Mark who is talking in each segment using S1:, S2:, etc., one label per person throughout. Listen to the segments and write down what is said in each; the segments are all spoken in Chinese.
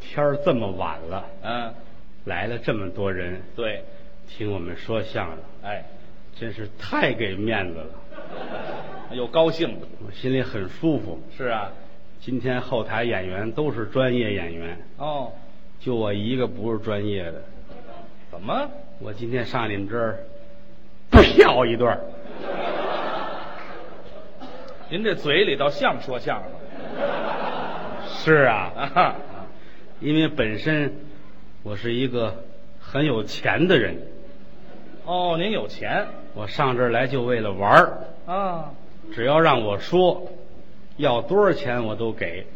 S1: 天儿这么晚了，
S2: 嗯，
S1: 来了这么多人
S2: 对，
S1: 听我们说相声，
S2: 哎，
S1: 真是太给面子了，
S2: 又高兴了，
S1: 我心里很舒服。
S2: 是啊，
S1: 今天后台演员都是专业演员，
S2: 哦，
S1: 就我一个不是专业的。
S2: 怎么？
S1: 我今天上你们这儿跳一段儿，
S2: 您这嘴里倒像说相声了
S1: 是啊，
S2: 啊哈？
S1: 因为本身我是一个很有钱的人，
S2: 哦，您有钱
S1: 我上这儿来就为了玩儿。
S2: 啊？
S1: 只要让我说，要多少钱我都给。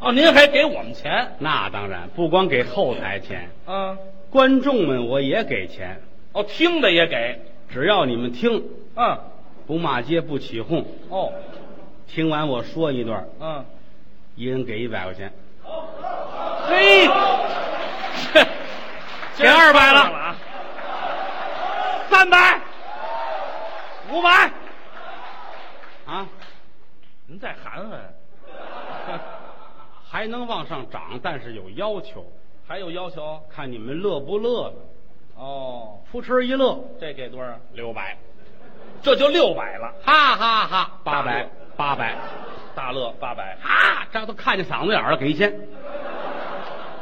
S2: 哦，您还给我们钱
S1: 那当然，不光给后台钱，
S2: 啊？
S1: 观众们我也给钱。
S2: 哦，听的也给，
S1: 只要你们听，
S2: 嗯，
S1: 不骂街不起哄，
S2: 哦，
S1: 听完我说一段，
S2: 嗯，
S1: 一人给一百块钱，
S2: 嘿，
S1: 给200了
S2: 啊，三百，五百，
S1: 啊，
S2: 您再喊喊，
S1: 还能往上涨，但是有要求，
S2: 还有要求？
S1: 看你们乐不乐了。
S2: 哦，
S1: 扑哧一乐，
S2: 这给多少？
S1: 六百，
S2: 这就六百了，
S1: 哈哈哈，八
S2: 大
S1: 百
S2: 乐，
S1: 八百，
S2: 大乐八百，
S1: 哈，这都看见嗓子眼儿了，给一千，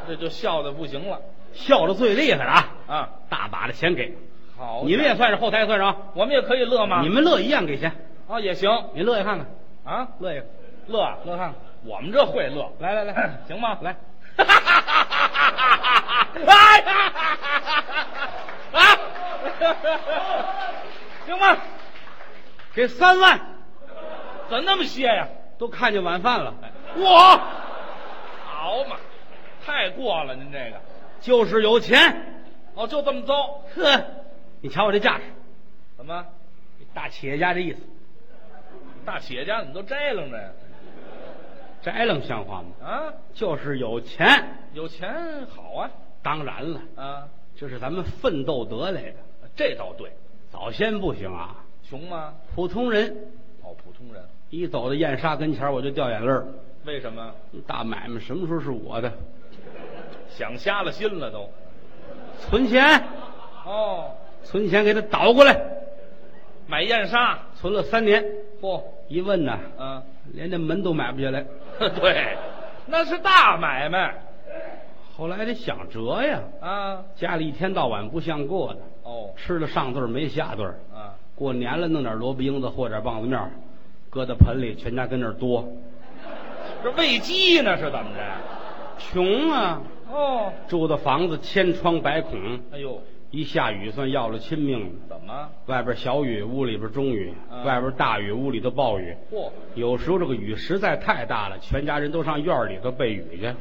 S2: 这就笑的不行了
S1: 笑的最厉害了啊，
S2: 啊！
S1: 大把的钱给，
S2: 好，
S1: 你们也算是后台算上
S2: 我们也可以乐吗？
S1: 啊，你们乐一样给钱，
S2: 啊也行
S1: 你乐一看看，
S2: 啊，
S1: 乐一个，
S2: 乐啊
S1: 乐看看，
S2: 我们这会乐，，
S1: 来来来
S2: 行吗？
S1: 来，
S2: 哈哈哈哈哈哈！ 哎呀，啊，行吗？
S1: 给三万，
S2: 怎那么些呀？
S1: 都看见晚饭了，
S2: 我，好嘛，太过了，您这个，
S1: 就是有钱，
S2: 哦，就这么糟，
S1: 呵，你瞧我这架势，
S2: 怎么？
S1: 大企业家这意思，
S2: 大企业家怎么都摘楞着呀？
S1: 这还能像话吗？
S2: 啊，
S1: 就是有钱，
S2: 有钱好啊，
S1: 当然了，
S2: 啊，
S1: 这是咱们奋斗得来的，
S2: 这倒对，
S1: 早先不行啊，
S2: 穷吗？
S1: 普通人
S2: 哦，普通人，
S1: 一走到燕莎跟前儿我就掉眼泪儿，
S2: 为什么？
S1: 大买卖什么时候是我的？
S2: 想瞎了心了都。
S1: 存钱，
S2: 哦，
S1: 存钱给他倒过来，
S2: 买燕莎，
S1: 存了三年，
S2: 嚯、
S1: 一问呐，
S2: 嗯，
S1: 连这门都买不下来。
S2: 对，那是大买卖
S1: 后来得想辙呀，
S2: 啊。
S1: 家里一天到晚不像过的，
S2: 哦，
S1: 吃了上顿儿没下顿儿。
S2: 啊，
S1: 过年了弄点萝卜缨子和点棒子面儿，搁到盆里，全家跟那儿多，
S2: 这喂鸡呢是怎么着？
S1: 穷啊！
S2: 哦，
S1: 住的房子千疮百孔，
S2: 哎呦，
S1: 一下雨算要了亲命了。
S2: 怎么？
S1: 外边小雨，屋里边中雨；
S2: 嗯
S1: 外边大雨，屋里头暴雨。
S2: 嚯，
S1: 有时候这个雨实在太大了，全家人都上院儿里头避雨去。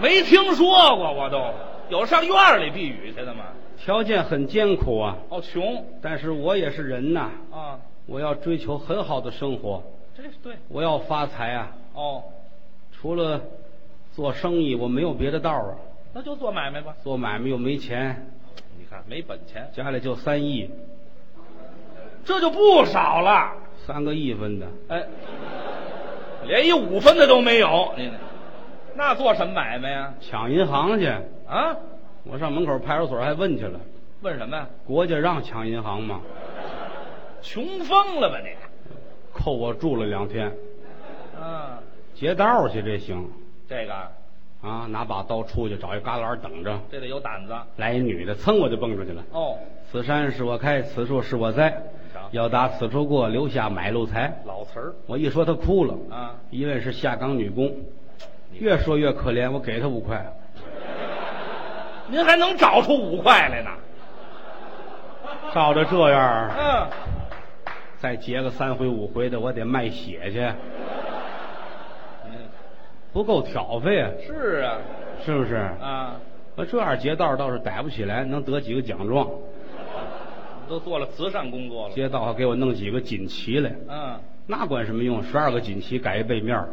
S2: 没听说过，我都有上院儿里避雨去的吗？
S1: 条件很艰苦啊，
S2: 哦，穷
S1: 但是我也是人呐，
S2: 啊，
S1: 我要追求很好的生活，
S2: 这是对。
S1: 我要发财啊！
S2: 哦，
S1: 除了做生意，我没有别的道儿啊。
S2: 那就做买卖吧。
S1: 做买卖又没钱，
S2: 你看，没本钱，
S1: 家里就三亿，
S2: 这就不少了。
S1: 三个亿分的，
S2: 哎，连一五分的都没有，你那做什么买卖呀？
S1: 抢银行去。
S2: 啊？
S1: 我上门口派出所还问去了，
S2: 问什么呀？
S1: 国家让抢银行吗？
S2: 穷疯了吧你？
S1: 扣我住了两天，
S2: 啊，
S1: 劫道儿去这行
S2: 这个啊
S1: 啊！拿把刀出去找一旮旯等着，
S2: 这得有胆子
S1: 来一女的，噌我就蹦出去了。
S2: 哦。
S1: 此山是我开，此树是我栽
S2: 瞧，
S1: 要打此处过，留下买路财。
S2: 老词儿
S1: 我一说她哭了，
S2: 啊，
S1: 因为是下岗女工，
S2: 你
S1: 越说越可怜，我给她五块，
S2: 您还能找出五块来呢？
S1: 照着这样儿，
S2: 嗯，
S1: 再结个三回五回的，我得卖血去，
S2: 嗯
S1: 不够挑费啊，
S2: 是啊
S1: 是不是？
S2: 啊，
S1: 我这样劫道倒是逮不起来，能得几个奖状，
S2: 都做了慈善工作了。
S1: 街道还给我弄几个锦旗来，
S2: 嗯，
S1: 那管什么用？十二个锦旗改一背面儿，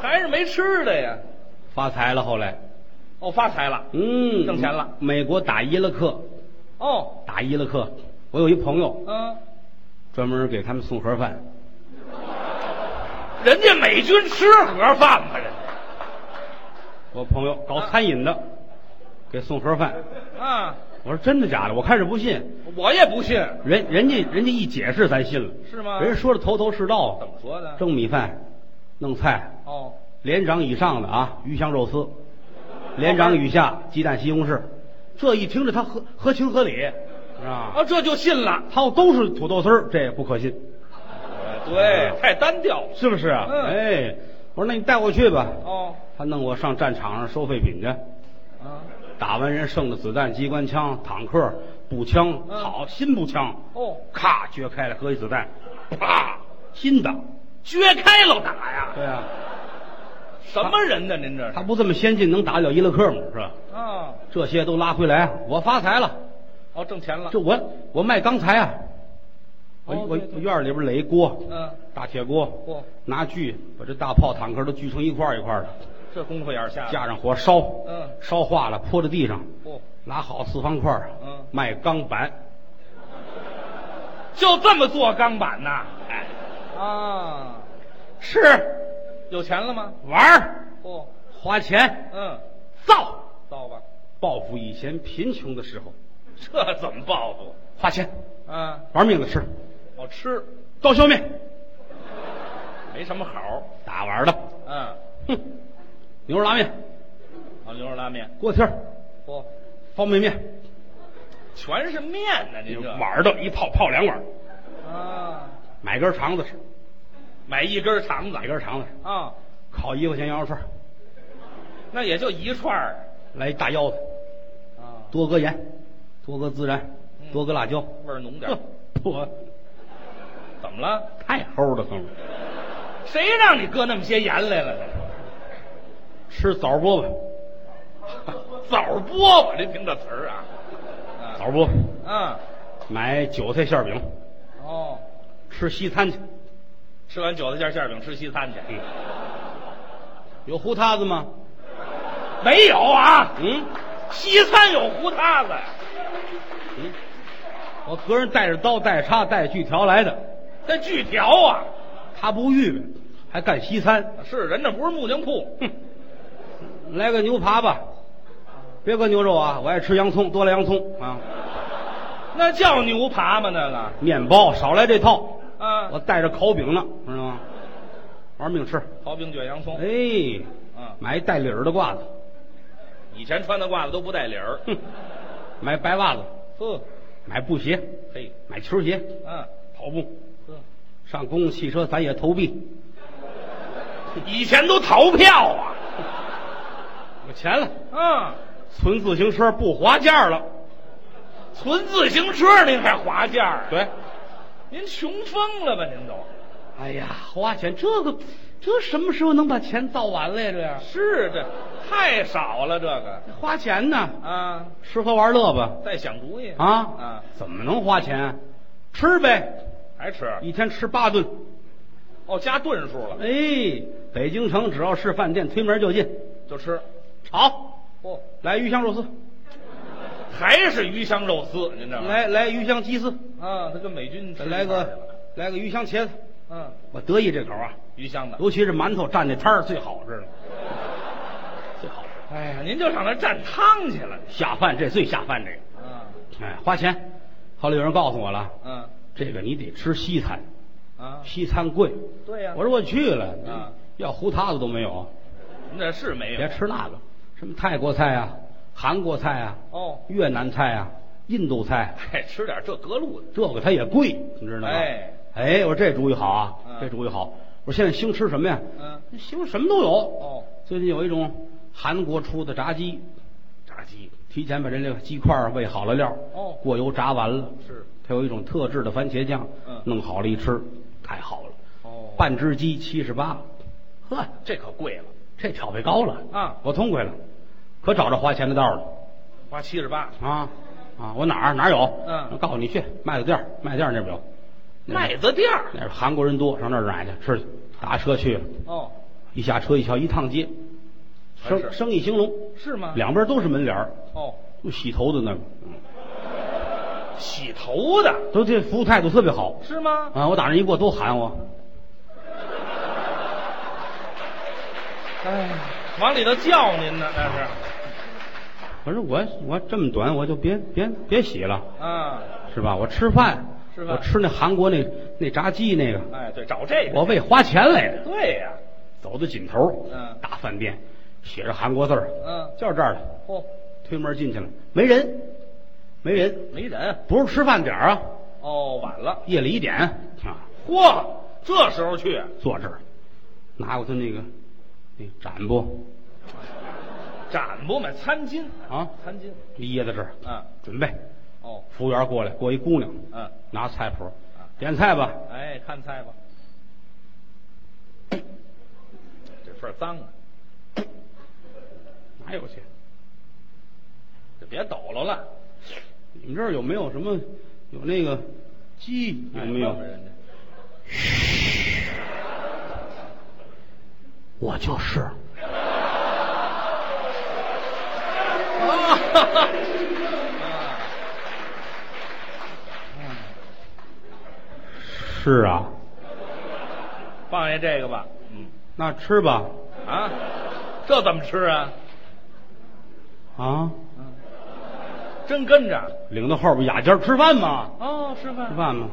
S2: 还是没吃的呀？
S1: 发财了。后来，
S2: 哦，发财了。
S1: 嗯，
S2: 挣钱了。
S1: 美国打伊拉克，
S2: 哦，
S1: 打伊拉克，我有一朋友，
S2: 嗯，
S1: 专门给他们送盒饭，
S2: 人家美军吃盒饭吧？人家
S1: 我朋友搞餐饮的，给送盒饭。
S2: 啊，
S1: 我说真的假的？我开始不信，
S2: 我也不信，
S1: 人人家人家一解释，咱信了。
S2: 是吗
S1: 人家说的头头是道啊。
S2: 怎么说的？
S1: 蒸米饭，弄菜，
S2: 哦，
S1: 连长以上的啊，鱼香肉丝；连长以下，鸡蛋西红柿。这一听着，他合合情合理，啊，
S2: 啊，这就信了。
S1: 他要都是土豆丝儿，这也不可信，
S2: 对，太单调了。
S1: 是不是啊？
S2: 嗯
S1: 哎，我说那你带我去吧。
S2: 哦，
S1: 他弄我上战场上收废品去，
S2: 啊，
S1: 打完人剩的子弹、机关枪、坦克、步枪，
S2: 嗯
S1: 好新步枪，
S2: 哦，
S1: 咔撅开了，搁一子弹，啪，新的。
S2: 撅开了打呀？
S1: 对啊，
S2: 什么人呢？您这
S1: 他
S2: 是？
S1: 不这么先进，能打得了伊拉克吗？是吧？
S2: 啊，
S1: 这些都拉回来，啊我发财了。
S2: 哦，挣钱了。
S1: 这我我卖钢材啊，我、
S2: 哦
S1: 我
S2: 对对
S1: 我院儿里边垒一锅，
S2: 嗯，哦
S1: 大铁锅，
S2: 嚯
S1: 拿锯把这大炮、坦克都锯成一块儿一块儿的，
S2: 这功夫眼儿下的。
S1: 架上火烧，
S2: 嗯
S1: 烧化了泼到地上，
S2: 哦，
S1: 拉好四方块儿
S2: 嗯
S1: 卖钢板，
S2: 就这么做钢板呐？哎，啊，
S1: 吃
S2: 有钱了吗？
S1: 玩儿
S2: 哦，
S1: 花钱
S2: 嗯，
S1: 造，
S2: 造吧。
S1: 报复以前贫穷的时候，
S2: 这怎么报复？
S1: 花钱
S2: 啊，
S1: 玩命的吃，
S2: 好吃，
S1: 刀削面
S2: 没什么好。
S1: 打碗儿的，
S2: 嗯，
S1: 哼，牛肉拉面、
S2: 好牛肉拉面，
S1: 锅贴儿、
S2: 不，
S1: 方便面，
S2: 全是面呢、您这
S1: 碗儿的一泡泡两碗儿，
S2: 啊，
S1: 买根肠子吃。
S2: 买一根肠子
S1: 哪根肠子？
S2: 啊，
S1: 烤一块钱羊肉串儿，
S2: 那也就一串儿
S1: 来一大腰子，
S2: 啊，
S1: 多搁盐，多搁孜然，
S2: 嗯
S1: 多搁辣椒，
S2: 味儿浓点儿。
S1: 我
S2: 怎么了？
S1: 太齁了，哼！
S2: 谁让你搁那么些盐来 了？
S1: 吃枣饽
S2: 枣饽饽，您听这词儿啊，
S1: 饽，
S2: 啊
S1: 枣饽饽，
S2: 啊，
S1: 买韭菜馅儿饼，
S2: 哦，
S1: 吃西餐去。
S2: 吃完韭菜馅儿馅饼吃西餐去。
S1: 嗯，有胡塌子吗？
S2: 没有啊，
S1: 嗯
S2: 西餐有胡塌子呀，
S1: 嗯，我个人带着刀、带着叉、带着锯条来的，
S2: 那锯条啊，
S1: 他不预备，还干西餐，
S2: 是人那不是木匠铺，
S1: 哼！来个牛扒吧，别搁牛肉啊，我爱吃洋葱，多来洋葱啊。
S2: 那叫牛扒吗？那个
S1: 面包少来这套，
S2: 啊，
S1: 我带着烤饼呢，知道吗？玩命吃，
S2: 刨冰卷洋葱，
S1: 哎，
S2: 嗯，
S1: 买一带领儿的褂子，
S2: 以前穿的褂子都不带领儿，
S1: 哼，买白袜子，
S2: 呵，
S1: 买布鞋，
S2: 嘿，
S1: 买球鞋，
S2: 嗯，
S1: 跑步，
S2: 呵，
S1: 上公共汽车咱也投币，
S2: 以前都逃票啊，
S1: 有钱了，
S2: 啊，
S1: 存自行车不划价了，
S2: 存自行车您还划价儿？
S1: 对，
S2: 您穷疯了吧？您都
S1: 哎呀，花钱这个，这什么时候能把钱造完了呀？这样
S2: 是这太少了，这个
S1: 花钱呢，
S2: 啊，
S1: 吃喝玩乐吧，
S2: 再想主意
S1: 啊
S2: 啊，
S1: 怎么能花钱啊？吃呗，
S2: 还吃
S1: 一天吃八顿。
S2: 哦，加顿数了
S1: 哎，北京城只要是饭店，推门就进。
S2: 就吃，
S1: 好，
S2: 哦，
S1: 来鱼香肉丝，
S2: 还是鱼香肉丝，您这
S1: 来来鱼香鸡丝，
S2: 啊，他跟美军吃
S1: 再
S2: 一
S1: 来
S2: 块儿去了
S1: 个来个鱼香茄子。
S2: 嗯，
S1: 我得意这口啊，
S2: 鱼香的。
S1: 尤其是馒头蘸那汤儿最好吃了，最好吃。
S2: 哎呀，您就上那儿蘸汤去了。
S1: 下饭这最下饭这个，
S2: 啊，
S1: 哎，花钱。后来有人告诉我了，
S2: 嗯，
S1: 这个你得吃西餐，
S2: 啊，
S1: 西餐贵。
S2: 对呀、
S1: 我说我去了，
S2: 啊
S1: 要胡塌子都没有，
S2: 您这是没有。
S1: 别吃那个，什么泰国菜啊、韩国菜啊、
S2: 哦，
S1: 越南菜啊、印度菜。
S2: 哎，吃点这隔路的。
S1: 这个它也贵，你知道吗？
S2: 哎
S1: 哎我说这主意好啊，
S2: 嗯
S1: 这主意好。我说现在兴吃什么呀？
S2: 嗯，
S1: 兴什么都有。
S2: 哦，
S1: 最近有一种韩国出的炸鸡，
S2: 炸鸡
S1: 提前把这个鸡块儿喂好了料，
S2: 哦
S1: 过油炸完了，
S2: 是。
S1: 它有一种特制的番茄酱，
S2: 嗯
S1: 弄好了一吃，太好了。
S2: 哦
S1: 半只鸡七十八，呵，
S2: 这可贵了，
S1: 这挑费高了
S2: 啊
S1: 我痛快了，可找着花钱的道了
S2: 花七十八。
S1: 啊啊！我哪儿哪儿有？
S2: 嗯
S1: 我告诉你去麦子店儿，麦子店儿那边有。嗯
S2: 麦子店儿。
S1: 那儿韩国人多，上那儿买去吃去。打车去了，
S2: 哦，
S1: 一下车一瞧，一趟街，生
S2: 全哎是啊
S1: 生意兴隆，
S2: 是吗？
S1: 两边都是门脸儿，
S2: 哦，
S1: 就洗头的那个，
S2: 洗头的
S1: 都这服务态度特别好
S2: 是吗？
S1: 啊！我打那一过都喊我，
S2: 哎，往里头叫您呢，那是。
S1: 可是我我这么短，我就别别别洗了，
S2: 啊，
S1: 是吧？我吃饭，
S2: 吃饭
S1: 我吃那韩国那那炸鸡那个，
S2: 哎，对，找这个。
S1: 我为花钱来的。
S2: 对呀、
S1: 走到尽头，
S2: 嗯
S1: 大饭店，写着韩国字儿，
S2: 嗯
S1: 就是这儿的。
S2: 嚯、
S1: 推门进去了，没人，没人，
S2: 没人。
S1: 不是吃饭点儿啊，
S2: 哦，晚了。
S1: 夜里一点啊，
S2: 嚯，这时候去，
S1: 坐这儿，拿过他那个那个展布
S2: 展不嘛，餐巾
S1: 啊，
S2: 餐巾。
S1: 掖在这儿，
S2: 嗯，
S1: 准备。
S2: 哦，
S1: 服务员过来，过一姑娘，
S2: 嗯，
S1: 拿菜谱，点菜吧。
S2: 哎，看菜 吧。这份儿脏啊，
S1: 哪有去？
S2: 就别抖搂了。
S1: 你们这儿有没有什么有那个鸡有
S2: 哎
S1: 没有
S2: 问？问人家
S1: 我就是。
S2: 啊哈哈啊
S1: 是啊，
S2: 放下这个吧。嗯
S1: 那吃吧。
S2: 啊，这怎么吃啊？
S1: 啊，
S2: 真跟着
S1: 领到后边雅间儿吃饭嘛，
S2: 哦，吃饭
S1: 吃饭嘛。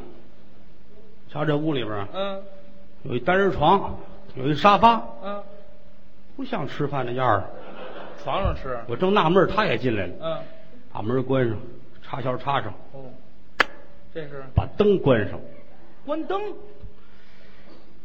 S1: 瞧这屋里边啊，
S2: 嗯
S1: 有一单人床，有一沙发，
S2: 嗯，
S1: 不像吃饭的样儿。
S2: 床上吃。
S1: 我正纳闷儿，他也进来了，
S2: 嗯
S1: 把门关上，插销插上，
S2: 哦，这是
S1: 把灯关上。
S2: 关灯。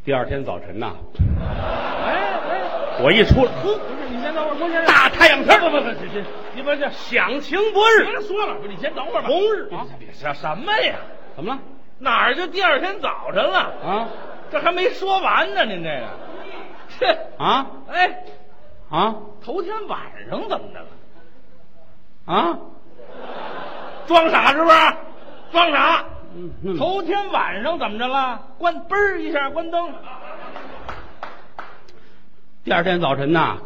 S1: 第二天早晨呐，
S2: 哎哎，
S1: 我一出来，
S2: 不不是，你先等会儿，不是先
S1: 大太阳天儿，不不不，
S2: 这你不是
S1: 响晴不
S2: 别
S1: 日，
S2: 说了，不是你先等会儿吧。
S1: 红日
S2: 啊
S1: 啊，
S2: 别什什么呀？
S1: 怎么了？
S2: 哪儿就第二天早晨了？
S1: 啊
S2: 这还没说完呢，您这个，这
S1: 啊
S2: 哎，
S1: 啊
S2: 头天晚上怎么着了？
S1: 啊！
S2: 装傻是不是？装傻。
S1: 嗯嗯
S2: 头天晚上怎么着了？关嘣儿一下关灯，
S1: 第二天早晨呐，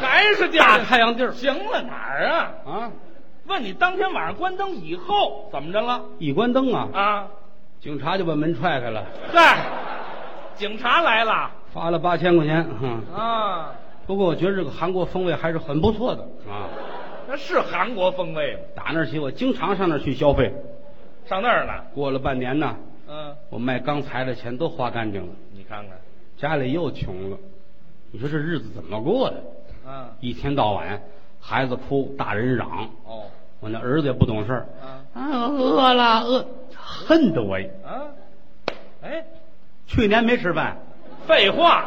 S2: 还是第二
S1: 大
S2: 天
S1: 太阳地儿
S2: 行了哪儿啊？
S1: 啊，
S2: 问你当天晚上关灯以后怎么着了？
S1: 一关灯啊，
S2: 啊，
S1: 警察就把门踹开了，
S2: 对，警察来了
S1: 罚了八千块钱。嗯，
S2: 啊，
S1: 不过我觉得这个韩国风味还是很不错的啊。
S2: 那是韩国风味吗？
S1: 打那起，我经常上那儿去消费。
S2: 上那儿了，
S1: 过了半年呢，
S2: 嗯，
S1: 我卖钢材的钱都花干净了，
S2: 你看看，
S1: 家里又穷了。你说这日子怎么过的？
S2: 嗯，
S1: 一天到晚，孩子哭，大人嚷。
S2: 哦，
S1: 我那儿子也不懂事儿，
S2: 啊
S1: 啊，饿了，饿，恨得我。
S2: 啊，哎，
S1: 去年没吃饭，
S2: 废话，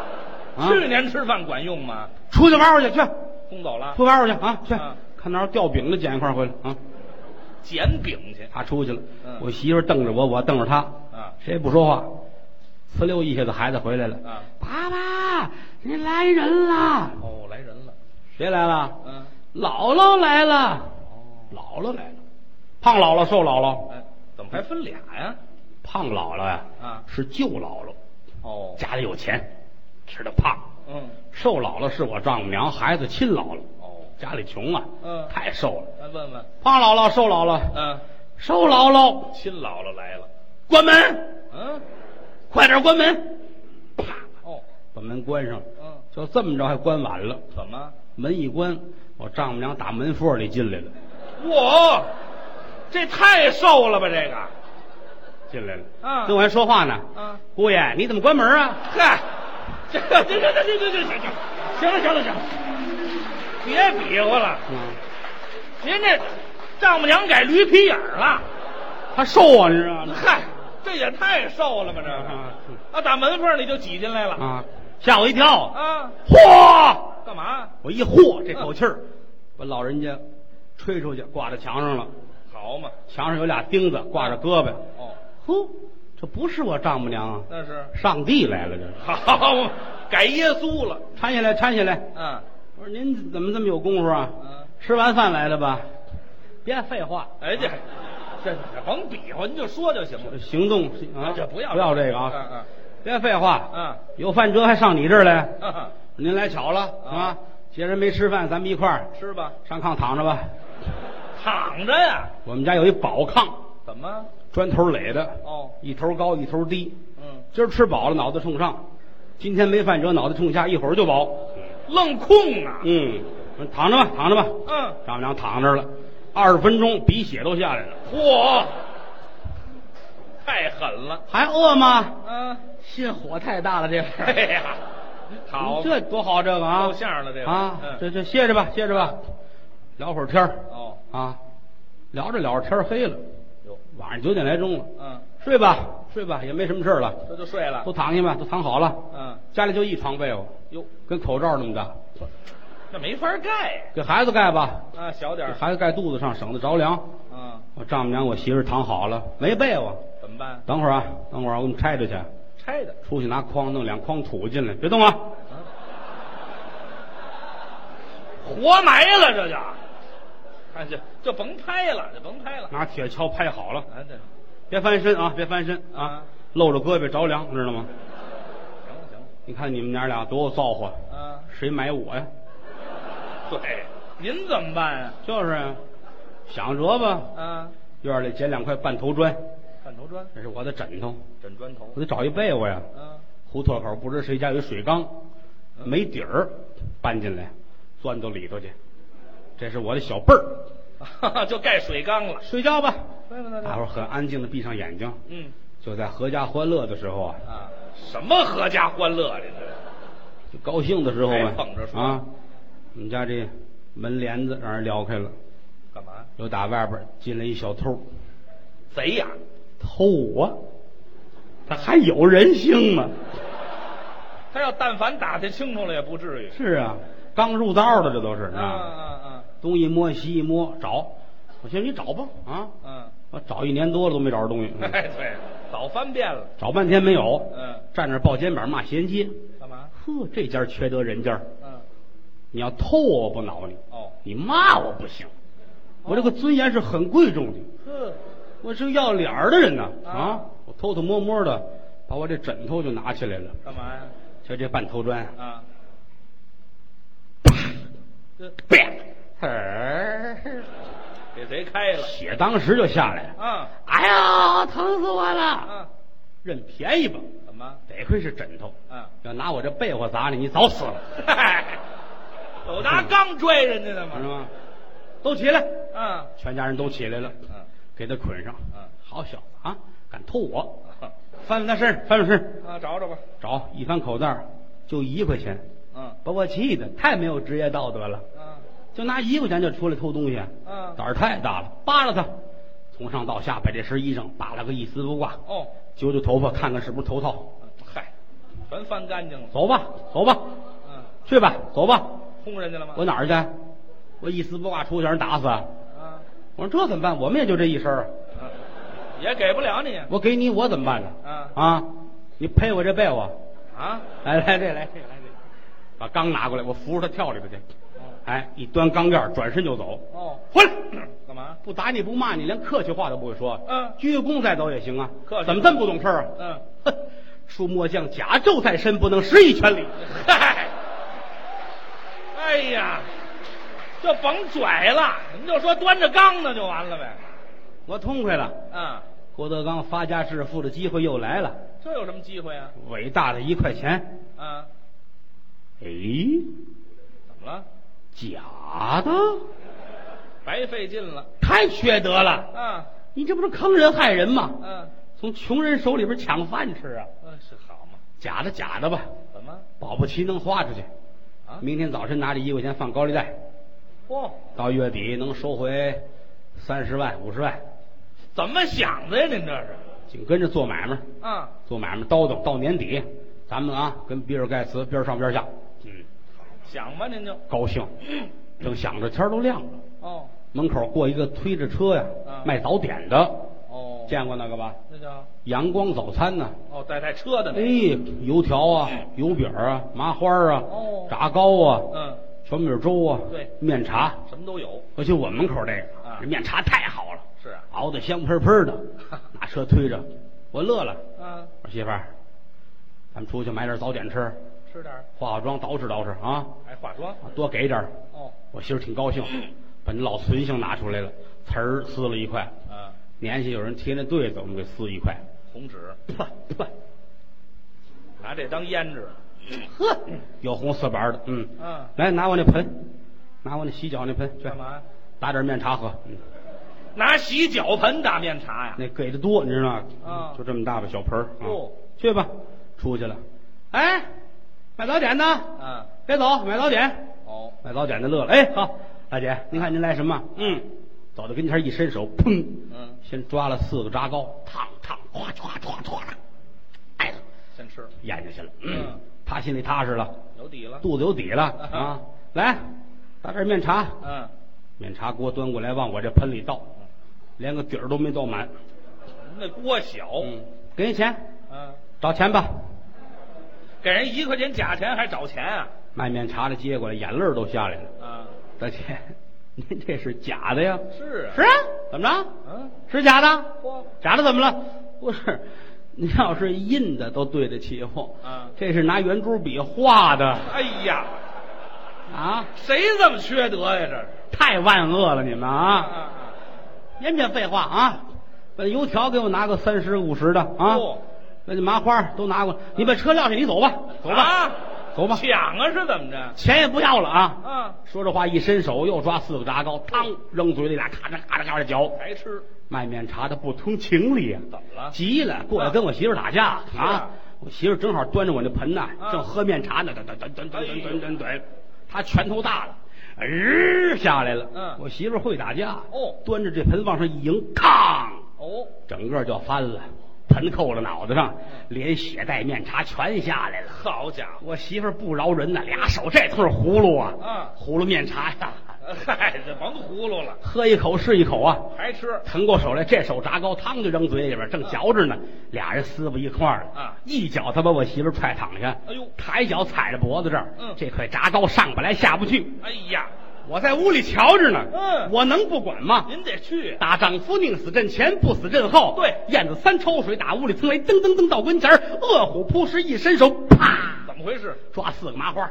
S1: 啊
S2: 去年吃饭管用吗？
S1: 出去玩会儿去，去
S2: 轰走了
S1: 出去，玩会儿去啊，去
S2: 啊
S1: 看哪儿掉饼的捡一块儿回来啊。
S2: 捡饼去
S1: 他出去了，
S2: 嗯
S1: 我媳妇儿瞪着我，我瞪着他，
S2: 啊
S1: 谁也不说话。呲溜一下子，孩子回来了，
S2: 啊，
S1: 爸爸，你来人啦！
S2: 哦，来人了，
S1: 谁来了？
S2: 嗯，
S1: 姥姥来了，
S2: 哦，
S1: 姥姥来了，胖姥姥、瘦姥姥，
S2: 哎，怎么还分俩呀？
S1: 胖姥姥呀，
S2: 啊
S1: 是舅姥姥，
S2: 哦，
S1: 家里有钱，吃的胖；
S2: 嗯，
S1: 瘦姥姥是我丈母娘孩子亲姥姥，
S2: 哦，
S1: 家里穷啊，
S2: 嗯
S1: 太瘦了。
S2: 来问问，
S1: 胖姥姥、瘦姥姥，
S2: 嗯，
S1: 瘦姥姥，
S2: 亲姥姥来了，
S1: 关门，
S2: 嗯，
S1: 快点关门，啪，
S2: 哦，
S1: 把门关上了。
S2: 嗯，
S1: 就这么着还关晚了，
S2: 怎么？
S1: 门一关，我丈母娘打门缝里进来了，
S2: 哇，这太瘦了吧？这个，
S1: 进来了，
S2: 啊
S1: 跟我还说话呢，
S2: 啊，
S1: 姑爷你怎么关门啊？
S2: 嗨，这这这这这这这这，行了行了行了，别比划了，
S1: 嗯，
S2: 您这丈母娘改驴皮眼儿了，
S1: 他瘦啊，你知 道吗？
S2: 嗨，这也太瘦了吧？这
S1: 啊是
S2: 个，啊，打门缝里就挤进来了，
S1: 啊，吓我一跳，
S2: 啊，
S1: 嚯！
S2: 干嘛？
S1: 我一嚯，这口气儿把老人家吹出去，挂在墙上了，
S2: 好嘛，
S1: 墙上有俩钉子挂着胳膊，
S2: 哦，
S1: 呼，这不是我丈母娘啊，
S2: 那是
S1: 上帝来了，这是
S2: 好嘛，改耶稣了，
S1: 搀下来，搀下来。
S2: 嗯
S1: 我说您怎么这么有功夫啊？
S2: 嗯，
S1: 吃完饭来的吧？别废话，
S2: 哎这这这甭比划，您就说就行了，
S1: 行动啊，
S2: 这不要
S1: 不要这个
S2: 嗯嗯
S1: 啊，别废话，
S2: 嗯
S1: 有饭辙还上你这儿来？
S2: 哈啊哈
S1: 您来巧了啊
S2: 啊，
S1: 既然没吃饭，咱们一块儿
S2: 吃吧，
S1: 上炕躺着吧。
S2: 躺着呀。
S1: 我们家有一宝炕，
S2: 怎么？
S1: 砖头垒的，
S2: 哦
S1: 一头高一头低。
S2: 嗯，
S1: 今儿吃饱了，脑袋冲上；今天没饭辙，脑袋冲下，一会儿就饱。
S2: 愣空啊！
S1: 嗯，躺着吧，躺着吧。
S2: 嗯，
S1: 丈母娘躺那儿了，二十分钟，鼻血都下来了。
S2: 嚯，太狠了！
S1: 还饿吗？
S2: 啊，
S1: 心火太大了，这会
S2: 哎呀，好，
S1: 这多好，这个啊，
S2: 露馅儿了这个
S1: 啊
S2: 嗯，
S1: 这这歇着吧，歇着吧，聊会儿天儿
S2: 哦，
S1: 啊，聊着聊着天儿黑了，
S2: 哟，
S1: 晚上九点来钟了，
S2: 嗯，
S1: 睡吧，睡吧，也没什么事儿了，
S2: 这就睡了
S1: 都。躺下吧，都躺好了，
S2: 嗯，
S1: 家里就一床被窝，
S2: 哟，
S1: 跟口罩那么大，
S2: 这没法盖
S1: 给孩子盖吧，
S2: 啊，小点
S1: 给
S2: 儿。
S1: 孩子盖肚子上，省得着凉。
S2: 嗯，
S1: 我丈母娘，我媳妇儿躺好了，没被窝，
S2: 怎么办？
S1: 等会儿啊，等会儿啊我给你拆着去，
S2: 拆的。嗯
S1: 出去拿筐弄两筐土进来，别动啊。
S2: 活埋了，这就，看这就甭拍了，就甭拍了。
S1: 拿铁锹拍好了，
S2: 啊，这
S1: 别翻身啊，别翻身啊
S2: 啊，
S1: 露着胳膊着凉，知道吗？
S2: 行了行
S1: 你看你们娘俩多有造化，
S2: 了啊，
S1: 谁买我呀？
S2: 对，您怎么办啊？
S1: 就是啊，想辙吧，
S2: 啊，
S1: 院里捡两块半头砖，
S2: 半头砖，
S1: 这是我的枕头，
S2: 枕砖头
S1: 我。得找一被窝呀。
S2: 啊，
S1: 胡同口不知谁家有一水缸，没底儿，搬进来，钻到里头去。这是我的小被儿，
S2: 啊 就盖水缸了。
S1: 睡觉吧。
S2: 对吧
S1: 大伙儿很安静的闭上眼睛，
S2: 嗯
S1: 就在阖家欢乐的时候啊，
S2: 啊，什么合家欢乐啊这是？
S1: 就高兴的时候嘛
S2: 还捧哎着，说
S1: 啊，我们家这门帘子让人撩开了，
S2: 干嘛？
S1: 又打外边进来一小偷，
S2: 贼呀、
S1: 偷我，他还有人性 吗？
S2: 他要但凡打听清楚了，也不至于。
S1: 是啊，刚入道的这都是
S2: 啊
S1: 啊，
S2: 啊
S1: 东一摸西一摸找，我寻思你找吧啊，
S2: 啊啊！
S1: 我找一年多了都没找着东西，嗯
S2: 哎，对，早翻遍了。
S1: 找半天没有，
S2: 嗯，
S1: 站那儿抱肩膀骂衔接，
S2: 干嘛？
S1: 呵，这家缺德人家，
S2: 嗯，
S1: 你要偷我我不恼你，
S2: 哦，
S1: 你骂我不行，我这个尊严是很贵重的。
S2: 呵，
S1: 我是个要脸儿的人呢
S2: 啊
S1: 啊！我偷偷摸摸的把我这枕头就拿起来了，
S2: 干嘛呀？
S1: 就这半头砖，
S2: 啊，这
S1: 啪，呲儿，
S2: 给谁开了？
S1: 血当时就下来了。
S2: 啊
S1: 哎呀，疼死我了！
S2: 啊，
S1: 认便宜吧，
S2: 怎么？
S1: 得亏是枕头，
S2: 啊，
S1: 要拿我这被窝砸你，你早死 了，
S2: 嗨，有拿钢拽人家的
S1: 知道
S2: 吗？
S1: 吗？都起来，
S2: 啊，
S1: 全家人都起来了，
S2: 嗯
S1: 给他捆上。
S2: 嗯
S1: 好小子啊，敢偷我！
S2: 啊
S1: 翻翻他身上，翻翻身上，
S2: 啊，找找吧。
S1: 找一翻口袋儿就一块钱。
S2: 嗯
S1: 把我气的太没有职业道德了，
S2: 啊
S1: 就拿一块钱就出来偷东西，
S2: 啊，
S1: 胆儿太大了。扒拉他，从上到下把这身衣裳扒拉个一丝不挂，
S2: 哦，
S1: 揪揪头发看看是不是头套。
S2: 嗨，全翻干净了。
S1: 走吧，走吧，
S2: 嗯，
S1: 去吧，走吧。
S2: 轰人家了吗？
S1: 我哪儿去？我一丝不挂出去让人打死啊。
S2: 啊，
S1: 我说这怎么办？我们也就这一身儿啊，
S2: 啊也给不了你。
S1: 我给你我怎么办呢？
S2: 啊
S1: 啊，你赔我这被窝。
S2: 啊，
S1: 来来这来这来这，把缸拿过来，我扶着他跳里边去。
S2: 哦
S1: 哎，一端缸盖儿，转身就走。
S2: 哦，
S1: 回来。
S2: 干嘛？
S1: 不打你不骂你，连客气话都不会说。
S2: 嗯
S1: 鞠个躬再走也行啊。
S2: 客气
S1: 怎么这么不懂事儿啊？
S2: 嗯，
S1: 哼， 出末将甲胄在身，不能失一全力。
S2: 嗨，哎呀，就甭拽了，您就说端着缸呢就完了呗。
S1: 我痛快了，
S2: 啊，
S1: 郭德纲发家致富的机会又来了。
S2: 这有什么机会啊？
S1: 伟大的一块钱，
S2: 啊，
S1: 哎，
S2: 怎么了？
S1: 假的，
S2: 白费劲了。
S1: 太缺德了！
S2: 啊，
S1: 你这不是坑人害人吗？
S2: 嗯、
S1: 从穷人手里边抢饭吃啊！
S2: 嗯，是好嘛？
S1: 假的假的吧，
S2: 怎么？
S1: 保不齐能花出去。
S2: 啊，哦
S1: 明天早晨拿着一块钱放高利贷，
S2: 嚯、
S1: 到月底能收回三十万、五十万，
S2: 怎么想的呀？您这是？
S1: 紧跟着做买卖，
S2: 啊，
S1: 做买卖叨叨到年底，咱们啊跟比尔盖茨边上边下，嗯，
S2: 想吧，您就。
S1: 高兴。正想着，天儿都亮了，
S2: 哦
S1: 门口过一个推着车呀、
S2: 啊
S1: 卖早点的，
S2: 哦，
S1: 见过那个吧？
S2: 那叫
S1: 阳光早餐呢、
S2: 哦带带车的
S1: 哎
S2: 那。，
S1: 油条啊，油饼啊，麻花啊，
S2: 嗯哦
S1: 炸糕啊，
S2: 嗯，
S1: 全米粥啊，
S2: 对
S1: 面茶，
S2: 什么都有。
S1: 尤其我门口这个，
S2: 啊
S1: 这面茶太好了，
S2: 是啊。
S1: 熬的香喷喷的， 拿车推着，我乐了。
S2: 啊，
S1: 我说媳妇儿，咱们出去买点早点吃，
S2: 吃点儿，
S1: 化化妆，捯饬捯饬啊，
S2: 还化妆。
S1: 多给点儿。
S2: 哦，
S1: 我媳妇儿挺 高兴，把那老存性拿出来了，词儿撕了一块，
S2: 啊，
S1: 年下有人贴那对 子，我们给撕一块，
S2: 红纸，
S1: 啪啪，
S2: 拿这当胭脂。
S1: 呵，有红四板的，嗯
S2: 嗯
S1: 来拿我那盆，拿我那洗脚那盆，去
S2: 干嘛呀？
S1: 打点面茶喝，嗯，
S2: 拿洗脚盆打面茶呀？
S1: 那给的多，你知道吗？
S2: 啊
S1: 就这么大吧，小盆儿，啊
S2: 哦，
S1: 去吧，出去了，哎，买早点呢？
S2: 嗯，
S1: 别走，买早点，
S2: 哦，
S1: 买早点的乐了，哎，好，大姐，您看您来什么？嗯，走到跟前一伸手，砰，
S2: 嗯，
S1: 先抓了四个炸糕，烫烫，哗唰唰唰，哎呀，
S2: 先吃，
S1: 咽下去了，
S2: 嗯，
S1: 他心里踏实了，
S2: 有底了。
S1: 肚子有底了啊！来，打点面茶，
S2: 嗯，
S1: 面茶锅端过来，往我这盆里倒，连个底儿都没倒满。
S2: 哦您那锅小，
S1: 嗯，给你钱，
S2: 嗯，
S1: 找钱吧。
S2: 给人一块钱假钱还找钱啊？
S1: 卖面茶的接过来，眼泪儿都下来了。
S2: 啊，
S1: 大姐，您这是假的呀？
S2: 是啊
S1: 是啊，怎么着？
S2: 嗯，
S1: 是假的
S2: 嚯？
S1: 假的怎么了？不是，您要是印的都对得起我。
S2: 嗯
S1: 这是拿圆珠笔画的
S2: 哎呀，
S1: 啊！
S2: 谁这么缺德呀？这是
S1: 太万恶了，你们
S2: 啊
S1: 啊！
S2: 啊
S1: 别别废话啊！把那油条给我拿个三十五十的啊！
S2: 哦
S1: 把那麻花都拿过来，你把车撂下，你走吧，走吧，
S2: 啊
S1: 走吧，
S2: 抢啊是怎么着？
S1: 钱也不要了啊！
S2: 啊，
S1: 说这话一伸手，又抓四个炸糕，嘡扔嘴里俩，咔嚓咔嚓咔嚓嚼。
S2: 白吃，
S1: 卖面茶的不通情理啊，
S2: 怎么了
S1: 急了，过来跟我媳妇儿打架
S2: 是
S1: 啊
S2: 啊！
S1: 我媳妇儿正好端着我那盆呐，
S2: 啊
S1: 正喝面茶呢，等等等等等等等等
S2: 哎
S1: 等，她拳头大了，哎下来了。
S2: 嗯
S1: 我媳妇儿会打架
S2: 哦
S1: 端着这盆往上一迎，吭，
S2: 哦，
S1: 整个就翻了，盆扣了脑袋上，连血带面茶全下来了。
S2: 好家伙，
S1: 我媳妇儿不饶人呐，俩手这通葫芦啊，
S2: 嗯
S1: 葫芦面茶呀，
S2: 嗨，这甭葫芦了，
S1: 喝一口是一口啊。
S2: 还吃，
S1: 腾过手来，这手炸糕汤就扔嘴里边，正嚼着呢，俩人撕巴一块儿了。
S2: 啊
S1: 一脚他把我媳妇儿踹躺下，
S2: 哎呦
S1: 抬脚踩着脖子这儿，
S2: 嗯
S1: 这块炸糕上不来下不去。
S2: 哎呀，
S1: 我在屋里瞧着呢，
S2: 嗯
S1: 我能不管吗？
S2: 您得去，啊
S1: 大丈夫宁死阵前，不死阵后。
S2: 对
S1: 燕子三抽水打屋里腾雷，噔噔噔到跟前儿，饿虎扑食一伸手，啪，
S2: 怎么回事？
S1: 抓四个麻花。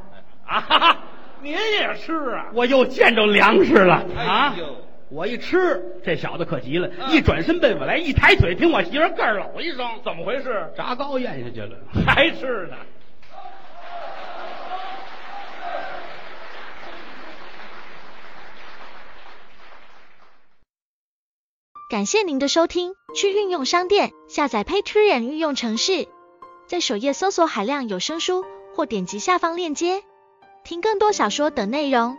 S2: 啊哈哈，您也吃啊？
S1: 我又见着粮食了啊
S2: 哎呦！
S1: 我一吃，这小子可急了，
S2: 嗯
S1: 一转身奔我来，一抬腿，听我媳妇儿咯儿一声，
S2: 怎么回事？
S1: 炸糕咽下去 了。
S2: 还吃呢？
S3: 感谢您的收听，去应用商店下载 Patreon 应用城市，在首页搜索海量有声书，或点击下方链接听更多小说等内容。